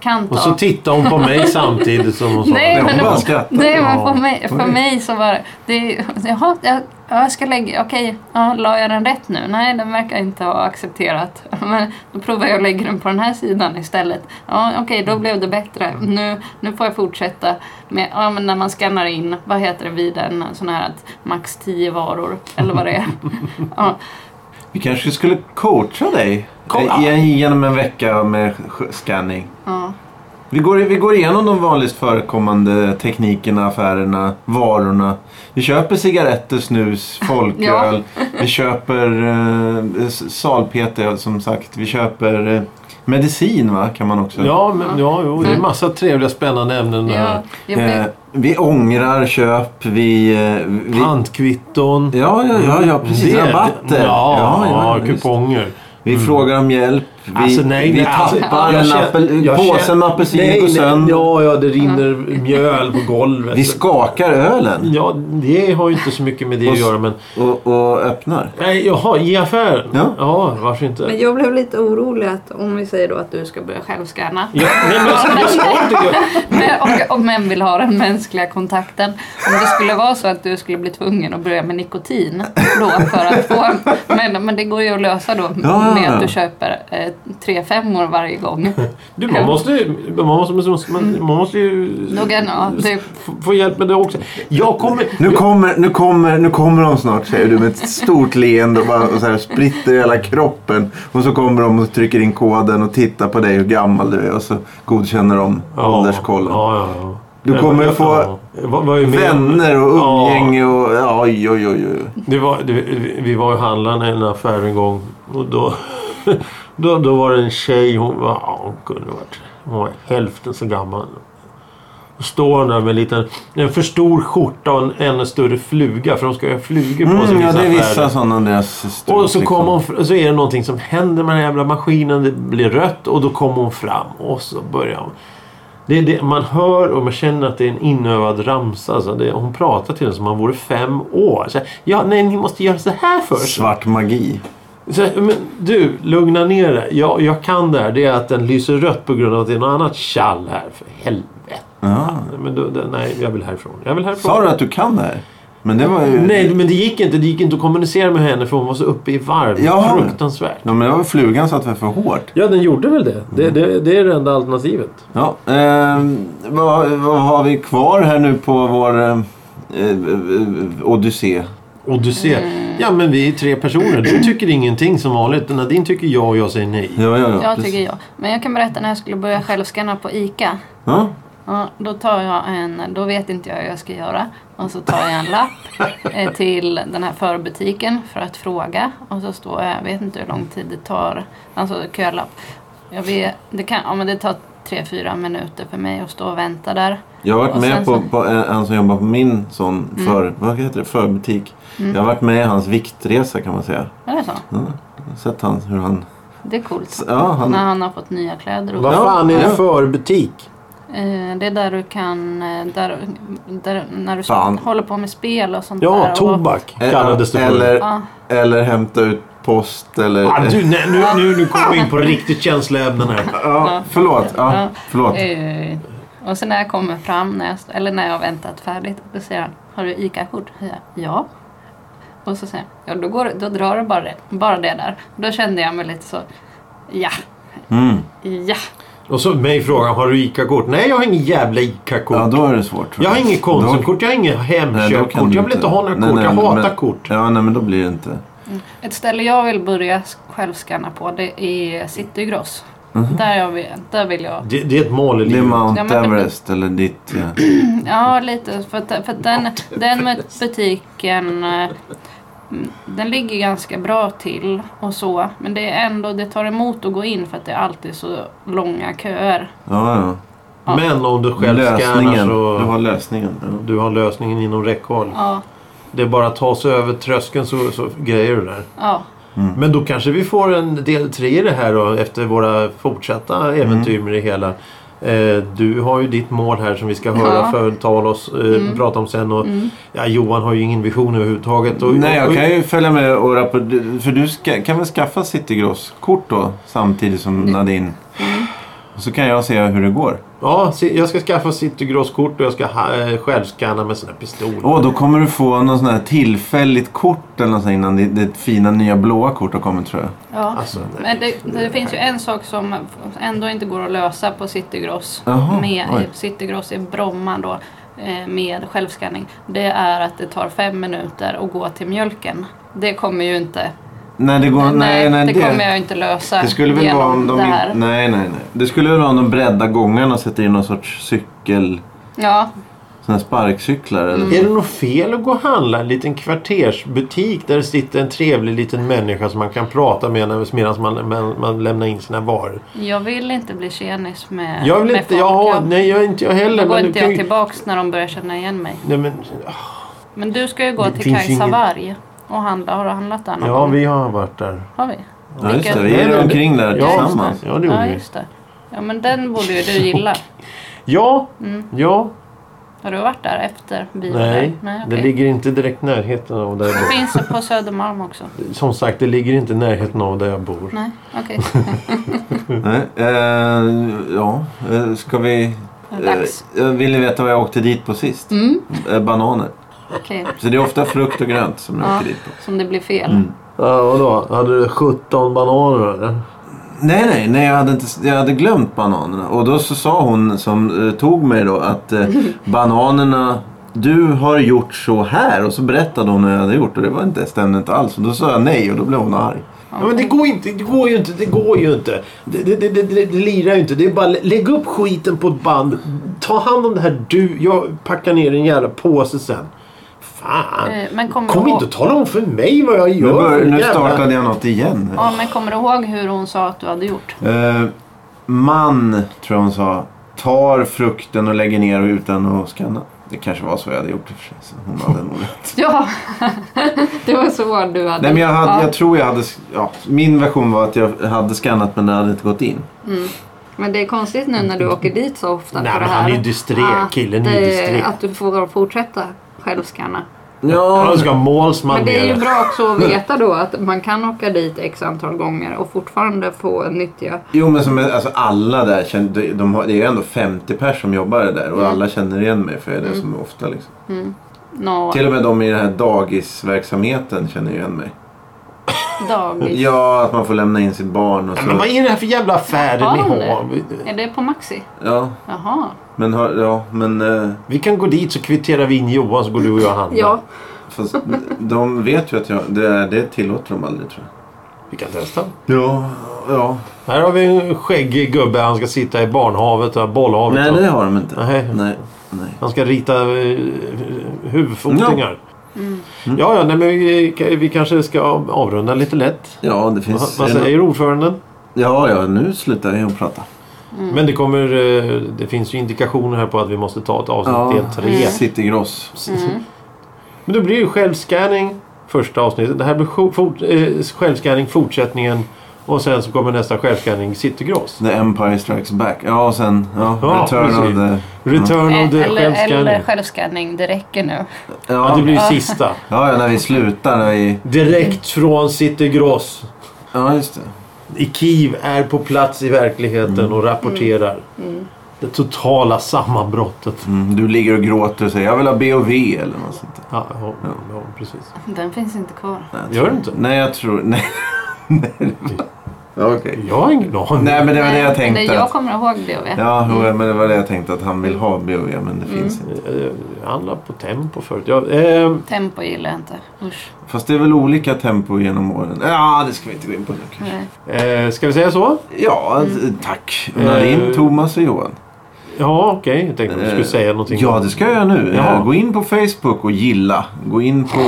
Speaker 3: kan ta.
Speaker 2: Och så tittar hon på mig samtidigt som hon sa.
Speaker 3: Nej, men,
Speaker 1: hon
Speaker 3: det
Speaker 1: bara
Speaker 3: var-
Speaker 1: skrattar.
Speaker 3: nej, men
Speaker 2: Ja.
Speaker 3: för, mig, för mig så var det... det jaha, jag, jag ska lägga... Okej, ja, la jag den rätt nu? Nej, den verkar inte ha accepterat. Men då provar jag att lägga den på den här sidan istället. Ja, okej, då blev det bättre. Nu, nu får jag fortsätta med... Ja, men när man scannar in, vad heter det vid en sån här att max 10 varor, eller vad det är. Ja,
Speaker 1: Vi kanske skulle coacha dig
Speaker 2: Coach-
Speaker 1: eh, igen- genom en vecka med sk- scanning.
Speaker 3: ja.
Speaker 1: Vi går, vi går igenom de vanligast förekommande teknikerna, affärerna, varorna. Vi köper cigaretter, snus, folköl. Vi köper eh, s- salpeter som sagt. Vi köper eh, medicin va, kan man också.
Speaker 2: Ja, men, ja jo, det är massa trevliga spännande ämnen
Speaker 3: ja
Speaker 2: där.
Speaker 3: jag
Speaker 1: Eh,
Speaker 3: blev,
Speaker 1: vi ångrar köp, vi... Eh, vi
Speaker 2: Pantkvitton.
Speaker 1: ja, ja, ja, Mm. ja, precis.
Speaker 2: Det-
Speaker 1: Rabatter.
Speaker 2: Ja, ja,
Speaker 1: visst.
Speaker 2: kuponger.
Speaker 1: Vi frågar om hjälp. Vi,
Speaker 2: Alltså, nej,
Speaker 1: vi
Speaker 2: nej,
Speaker 1: tappar
Speaker 2: alltså, jag
Speaker 1: en
Speaker 2: känner-
Speaker 1: appel,
Speaker 2: jag
Speaker 1: påsen
Speaker 2: känner-
Speaker 1: med apelsiner
Speaker 2: Nej,
Speaker 1: går
Speaker 2: nej,
Speaker 1: sönder.
Speaker 2: Ja, ja, det rinner mjöl på golvet.
Speaker 1: Vi skakar ölen
Speaker 2: Ja, det har ju inte så mycket med det
Speaker 1: Och
Speaker 2: att
Speaker 1: s-
Speaker 2: göra men...
Speaker 1: och, och öppnar.
Speaker 2: Nej, jaha, i affären?
Speaker 1: Ja.
Speaker 2: varför inte?
Speaker 3: men jag blev lite orolig att om vi säger då att du ska börja självscanna.
Speaker 2: Ja, nej, men jag, jag ska inte göra...
Speaker 3: Men, och, och män vill ha den mänskliga kontakten. Om det skulle vara så att du skulle bli tvungen att börja med nikotin då för att få... Men, men det går ju att lösa då
Speaker 1: Ja.
Speaker 3: med att du köper eh, tre femmor varje gång.
Speaker 2: Du, man måste ju... Man måste, man måste, man, man måste ju...
Speaker 3: Någon, ja, typ.
Speaker 2: f- Få hjälp med det också. Jag kommer...
Speaker 1: Nu kommer, nu, kommer, nu kommer de snart säger du med ett stort leende och, bara, och så här spritter i hela kroppen. Och så kommer de och trycker in koden och tittar på dig hur gammal du är och så godkänner de ålderskollen.
Speaker 2: Ja, ja, ja.
Speaker 1: Du kommer ju få
Speaker 2: Ja. Vad- vad är mer?
Speaker 1: Vänner och
Speaker 2: Ja.
Speaker 1: umgänge och ja, oj oj oj. oj.
Speaker 2: Det var, det, vi- vi var i handlaren i en affär en gång och då, då, då var det en tjej, hon var, ja, hon kunde ha varit, hon var hälften så gammal. Och Står hon där med en liten, en för stor skjorta och en ännu större fluga för de ska ju ha flugor på sig. i
Speaker 1: Mm, ja, det är
Speaker 2: affärer.
Speaker 1: vissa sådana deras strut,
Speaker 2: Och så, kom
Speaker 1: liksom.
Speaker 2: hon, fr- så är det någonting som händer med den här jävla maskinen. Det blir rött och då kommer hon fram och så börjar hon. Det är det, man hör och man känner att det är en inövad ramsa. Alltså det, hon pratar till den som om hon vore fem år. Så, här, ja, nej, ni måste göra så här först.
Speaker 1: Svart magi.
Speaker 2: Så, här, men, du, lugna ner dig. Jag, jag kan det här. Det är att den lyser rött på grund av att det är något annat tjall här. För helvete.
Speaker 1: Ja.
Speaker 2: Men då, det, nej, jag vill härifrån. Jag vill härifrån.
Speaker 1: Sa du att du kan det här? Men det var ju...
Speaker 2: Nej, men det gick inte. Det gick inte att kommunicera med henne för hon var så uppe i varv.
Speaker 1: Jaha.
Speaker 2: Fruktansvärt.
Speaker 1: Ja, men det var flugan så att det var för hårt.
Speaker 2: Ja, den gjorde väl det. Det, det, det är det enda alternativet.
Speaker 1: Ja, ehm, vad, vad har vi kvar här nu på vår eh, eh, odyssé?
Speaker 2: Och du ser. Ja, men vi är tre personer. Du tycker ingenting som vanligt. Nadine tycker ja och jag säger nej.
Speaker 1: Ja, ja, ja.
Speaker 3: Jag
Speaker 1: precis.
Speaker 3: tycker jag. Men jag kan berätta när jag skulle börja självscanna på ICA.
Speaker 1: Ja?
Speaker 3: Ja, då tar jag en, då vet inte jag hur jag ska göra. Och så tar jag en lapp eh, till den här förbutiken för att fråga. Och så står jag, jag vet inte hur lång tid det tar, alltså kölapp. Jag vet, det, kan, ja, men det tar tre, fyra minuter för mig att stå och vänta där.
Speaker 1: Jag har varit
Speaker 3: Och
Speaker 1: med
Speaker 3: sen
Speaker 1: på,
Speaker 3: så- Mm.
Speaker 1: på eh, en en som jobbar på min sån för, vad heter det, förbutik. Jag har varit med i hans viktresa kan man säga.
Speaker 3: Är det så?
Speaker 1: Jag har Sett han, hur han...
Speaker 3: Det är coolt.
Speaker 1: Ja, han...
Speaker 3: När han har fått nya kläder. Och
Speaker 2: Vad
Speaker 1: Ja.
Speaker 2: fan är det
Speaker 1: Ja.
Speaker 2: för butik?
Speaker 3: Eh, Det är där du kan, eh, där, där, när du
Speaker 1: Fan.
Speaker 3: håller på med spel och sånt där.
Speaker 2: Ja,
Speaker 3: och-
Speaker 2: tobak kallades det förr.
Speaker 1: Eh, eller,
Speaker 3: Ja,
Speaker 1: eller hämta ut post eller...
Speaker 2: Ah, du, nej, nu, nu, nu kommer vi in på riktigt känsliga ämnen här.
Speaker 1: Ja, förlåt. Ja,
Speaker 3: Ja.
Speaker 1: förlåt.
Speaker 3: eh, och sen när jag kommer fram, när jag, eller när jag har väntat färdigt, då säger han Har du ICA-kort? Ja. ja. Och så säger han, ja då, går, då drar du bara det, bara det där. Och då kände jag mig lite så, ja,
Speaker 1: Mm.
Speaker 3: ja.
Speaker 2: Och så mig frågan, har du ICA-kort? Nej, jag har inget jävla ICA-kort.
Speaker 1: Ja, då är det svårt. tror
Speaker 2: jag har inget Konsumkort, jag har inget
Speaker 1: Nej, då kan
Speaker 2: Hemköpkort.
Speaker 1: du
Speaker 2: Jag vill inte ha några
Speaker 1: Nej,
Speaker 2: kort.
Speaker 1: nej,
Speaker 2: jag
Speaker 1: men-
Speaker 2: hatar kort.
Speaker 1: Ja, nej men då blir det inte.
Speaker 3: Ett ställe jag vill börja självskanna på det är Citygross. Där, jag vill, där vill jag
Speaker 2: Det, det är ett mål i
Speaker 1: Det är
Speaker 2: livet.
Speaker 1: Mount
Speaker 3: Ja, men-
Speaker 1: Everest eller ditt... Ja.
Speaker 3: Ja, lite. För, att, för att den, den med butiken eh, mm, den ligger ganska bra till och så. Men det är ändå, det tar emot att gå in för att det är alltid så långa köer.
Speaker 1: Ja,
Speaker 3: Ja.
Speaker 2: Men om du
Speaker 1: ja.
Speaker 2: själv scannar
Speaker 1: Lösningen. Du
Speaker 2: så...
Speaker 1: har lösningen. Ja.
Speaker 2: Du har lösningen inom räckhåll.
Speaker 3: Ja,
Speaker 2: Det är bara att ta sig över tröskeln så, så grejer du där.
Speaker 3: ja.
Speaker 1: Mm.
Speaker 2: Men då kanske vi får en del tre i det här då efter våra fortsatta
Speaker 1: Mm.
Speaker 2: äventyr med det hela. Eh, du har ju ditt mål här som vi ska höra
Speaker 3: Ja. Mm.
Speaker 2: förtala oss, eh, prata om sen. Och, ja, Johan har ju ingen vision överhuvudtaget. Och,
Speaker 1: Nej, jag
Speaker 2: och,
Speaker 1: kan ju följa med och rapportera. För du ska, kan väl skaffa Citygross-kort då samtidigt som
Speaker 3: Mm.
Speaker 1: Nadine? Och så kan jag se hur det går.
Speaker 2: Ja, se- jag ska skaffa Citygross-kort och jag ska ha, eh, självscanna med sån här pistol.
Speaker 1: Åh, då kommer du få någon sån här tillfälligt kort eller något sånt innan det, det fina nya blåa kort har kommit tror jag.
Speaker 3: ja.
Speaker 2: Alltså, nej.
Speaker 3: Men det, det finns ju en sak som ändå inte går att lösa på Citygross.
Speaker 1: Jaha, oj.
Speaker 3: Med, Citygross i Bromma då eh, med självskanning. Det är att det tar fem minuter att gå till mjölken. Det kommer ju inte.
Speaker 1: Nej, det går... Nej, nej,
Speaker 3: det,
Speaker 1: det,
Speaker 3: kommer jag inte lösa
Speaker 1: det skulle väl vara om de...
Speaker 3: Äh, det
Speaker 1: in-
Speaker 3: här.
Speaker 1: Nej, nej, nej. Det skulle väl vara om de breddar gångarna och sätter in någon sorts cykel...
Speaker 3: Ja,
Speaker 1: Såna här sparkcyklar eller
Speaker 3: Mm.
Speaker 2: Är det något fel att gå och handla i en liten kvartersbutik där det sitter en trevlig liten människa som man kan prata med medan man, man, man lämnar in sina varor?
Speaker 3: jag vill inte bli tjenis med
Speaker 2: Jag vill
Speaker 3: med
Speaker 2: inte, jag har, nej jag är inte jag heller.
Speaker 3: Då går
Speaker 2: Men du
Speaker 3: inte jag
Speaker 2: kan ju,
Speaker 3: tillbaks när de börjar känna igen mig.
Speaker 2: nej, men,
Speaker 3: Men du ska ju gå
Speaker 2: Det
Speaker 3: till
Speaker 2: finns
Speaker 3: Kajsa
Speaker 2: ingen-
Speaker 3: Varg och handla. Har du handlat där någon
Speaker 2: ja,
Speaker 3: gång?
Speaker 2: vi har varit där.
Speaker 3: Har vi?
Speaker 1: Ja, just det.
Speaker 3: Vilken-
Speaker 1: Vi
Speaker 2: Nej,
Speaker 1: är
Speaker 2: nej,
Speaker 1: omkring där
Speaker 2: Ja,
Speaker 1: tillsammans.
Speaker 2: Ja, det gjorde
Speaker 3: Ja,
Speaker 2: vi.
Speaker 3: just det. Ja, men den borde ju du gilla.
Speaker 2: Ja,
Speaker 3: Mm.
Speaker 2: ja,
Speaker 3: Har du varit där efter bilen?
Speaker 2: nej.
Speaker 3: nej
Speaker 2: Det
Speaker 3: okej.
Speaker 2: ligger inte direkt i närheten av där jag
Speaker 3: Det
Speaker 2: bor.
Speaker 3: finns det på Södermalm också.
Speaker 2: Som sagt, det ligger inte i närheten av där jag bor.
Speaker 3: Nej, okej.
Speaker 1: Nej, eh, ja, eh, ska vi...
Speaker 3: Dags. Mm,
Speaker 1: Eh, vill ni veta vad jag åkte dit på sist? Eh, bananer.
Speaker 3: Okej.
Speaker 1: Så det är ofta frukt och grönt som jag
Speaker 3: Ja.
Speaker 1: åker dit på.
Speaker 3: Som det blir fel.
Speaker 2: Mm. Ja, vadå? Hade du 17 bananer eller?
Speaker 1: Nej, nej, nej jag, hade inte, jag hade glömt bananerna. Och då så sa hon som eh, tog mig då att eh, bananerna, du har gjort så här. Och så berättade hon hur jag hade gjort och det var inte, stämde inte alls. Och då sa jag nej och då blev hon arg.
Speaker 2: Ja, men det går, inte, det går ju inte. Det går ju inte. Det, det, det, det, det lirar ju inte. Det är bara lä- lägg upp skiten på ett band. Ta hand om det här du. Jag packar ner en jävla påse sen. Fan.
Speaker 3: Eh, Men kommer
Speaker 2: Kom
Speaker 3: du
Speaker 2: inte
Speaker 3: ihåg...
Speaker 2: och tala om för mig vad jag
Speaker 1: Nu,
Speaker 2: gör.
Speaker 1: bör, nu
Speaker 2: jävla-
Speaker 1: startade jag något igen.
Speaker 3: Ja, men kommer du ihåg hur hon sa att du hade gjort?
Speaker 1: Eh, man, tror jag hon sa, tar frukten och lägger ner utan att scanna. Det kanske var så jag hade gjort i och för sig. Så hon hade nog rätt.
Speaker 3: Ja, det var så du hade...
Speaker 1: Nej, men jag, hade,
Speaker 3: ja.
Speaker 1: jag tror jag hade... Ja, min version var att jag hade skannat men det hade inte gått in.
Speaker 3: Men det är konstigt nu när du åker dit så ofta
Speaker 2: Nej,
Speaker 3: för det
Speaker 2: men
Speaker 3: här.
Speaker 2: han är ju disträ.
Speaker 3: att,
Speaker 2: Killen är ju
Speaker 3: eh,
Speaker 2: disträ.
Speaker 3: Att du får fortsätta självskanna.
Speaker 1: Ja,
Speaker 2: Han ska ha målsman
Speaker 3: Men det är ju
Speaker 2: med.
Speaker 3: bra också att veta då att man kan åka dit x antal gånger och fortfarande få nyttja.
Speaker 1: Jo men som, alltså, alla där kände, de, har, det är ju ändå 50 pers som jobbar där och
Speaker 2: Mm.
Speaker 1: alla känner igen mig för jag är det som är ofta. Liksom.
Speaker 3: Nå,
Speaker 1: Till och med de i den här dagisverksamheten känner ju igen mig.
Speaker 3: dagis.
Speaker 1: Ja, att man får lämna in sitt barn och
Speaker 2: Men vad
Speaker 1: så.
Speaker 2: är det här för jävla affärer
Speaker 3: Har
Speaker 2: ni
Speaker 3: de det?
Speaker 2: har? Vi-
Speaker 3: Är det på Maxi?
Speaker 1: Ja,
Speaker 3: Jaha.
Speaker 1: men, har- ja, men eh,
Speaker 2: Vi kan gå dit så kvitterar vi in Johan så går du och jag och handlar.
Speaker 3: Ja.
Speaker 1: fast de vet ju att jag, det, det tillåter de aldrig tror jag.
Speaker 2: Vi kan testa.
Speaker 1: Ja, ja.
Speaker 2: Här har vi en skäggig gubbe. Han ska sitta i barnhavet, och bollhavet.
Speaker 1: Nej,
Speaker 2: och-
Speaker 1: det har de inte.
Speaker 2: Nej.
Speaker 1: Nej, nej.
Speaker 2: Han ska rita eh, huvudfotingar. Mm. Ja, ja, nej, men vi, eh, vi kanske ska av- avrunda lite lätt.
Speaker 1: Ja, det
Speaker 2: Va,
Speaker 1: finns...
Speaker 2: vad säger ordföranden?
Speaker 1: Ja, ja, nu slutar jag att prata.
Speaker 3: Mm.
Speaker 2: Men det, kommer, eh, det finns ju indikationer här på att vi måste ta ett avsnitt del 3.
Speaker 3: Mm.
Speaker 1: Citygross.
Speaker 2: Men då blir det ju självscanning, första avsnittet. Det här blir sjo- fort, eh, självskanning, fortsättningen och sen så kommer nästa självskanning, Citygross.
Speaker 1: The Empire Strikes Back. Ja, och sen ja,
Speaker 2: Ja,
Speaker 1: Return
Speaker 2: precis.
Speaker 1: of
Speaker 2: Return of the
Speaker 3: Eh, Eller, eller
Speaker 2: självskanning.
Speaker 3: självskanning, det räcker nu.
Speaker 1: the...
Speaker 2: Ja,
Speaker 1: Ja,
Speaker 2: det blir ju
Speaker 3: Ja.
Speaker 2: sista.
Speaker 1: ja, ja när vi slutar. När vi...
Speaker 2: Direkt från Citygross.
Speaker 1: Ja, just det.
Speaker 2: I Kiev är på plats i verkligheten
Speaker 1: Mm.
Speaker 2: och rapporterar det totala sammanbrottet.
Speaker 1: Mm, du ligger och gråter och säger jag vill ha BOV eller något sånt där.
Speaker 2: Ja, ja, ja, precis.
Speaker 3: Den finns inte kvar.
Speaker 1: Nej, jag
Speaker 2: Gör
Speaker 1: tror-
Speaker 2: du inte?
Speaker 1: Nej, jag tror... Nej. Okej.
Speaker 2: Jag har ingen aning.
Speaker 1: Nej, men det var det jag tänkte.
Speaker 3: Eller jag
Speaker 1: att...
Speaker 3: kommer Mm. ihåg det. vet.
Speaker 1: Ja, jo, men det var det jag tänkte att han vill ha BOV, men det finns inte.
Speaker 2: Eh, handla på tempo förut. Ja, eh,
Speaker 3: Tempo gillar jag inte. Usch.
Speaker 1: Fast det är väl olika tempo genom åren. Ja, det ska vi inte gå in på nu kanske.
Speaker 3: Nej. Mm.
Speaker 2: eh, ska vi säga så?
Speaker 1: Ja, tack.
Speaker 2: Eh,
Speaker 1: Narin, Thomas och Johan.
Speaker 2: Ja, okej. Jag tänkte att du skulle
Speaker 1: Eh,
Speaker 2: säga någonting.
Speaker 1: Ja, det ska jag göra nu.
Speaker 2: Jaha.
Speaker 1: Eh, Gå in på Facebook och gilla. Gå in på...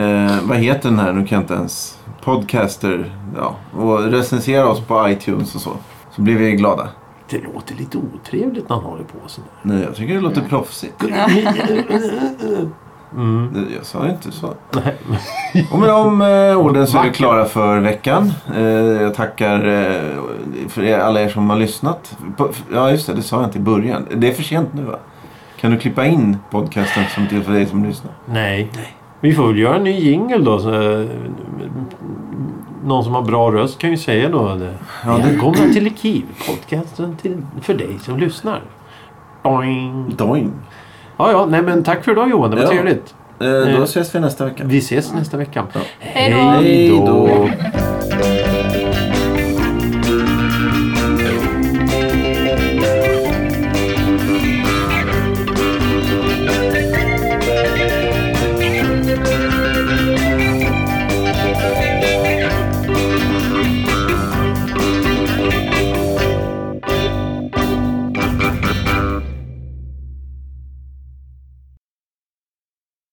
Speaker 1: Eh, vad heter den här? Nu kan jag inte ens... Podcaster. Ja. Och recensera oss på iTunes och så. Så blir vi glada.
Speaker 2: Det låter lite otrevligt när han håller på sådär.
Speaker 1: Nej, jag tycker det låter proffsigt.
Speaker 2: Mm.
Speaker 1: Det- Jag sa inte så. Och med de eh, orden så är vi
Speaker 2: Vackert.
Speaker 1: klara för veckan. Eh, jag tackar eh, för er, alla er som har lyssnat. På- Ja, just det. Det sa jag inte i början. Det är för sent nu, va? Kan du klippa in podcasten som till för dig som lyssnar?
Speaker 2: Nej. Vi får väl göra en ny jingle då. Så, eh, någon som har bra röst kan ju säga då. Det.
Speaker 1: Ja, det-
Speaker 2: Välkomna till Ekiv, podcasten till, för dig som lyssnar. Boing.
Speaker 1: Doing.
Speaker 2: Ja, ja, nej men tack för idag Johan. Det var
Speaker 1: Ja.
Speaker 2: trevligt.
Speaker 1: Eh, då ses vi nästa vecka.
Speaker 2: Vi ses nästa vecka.
Speaker 1: Ja.
Speaker 3: Hej då.
Speaker 1: Hej då.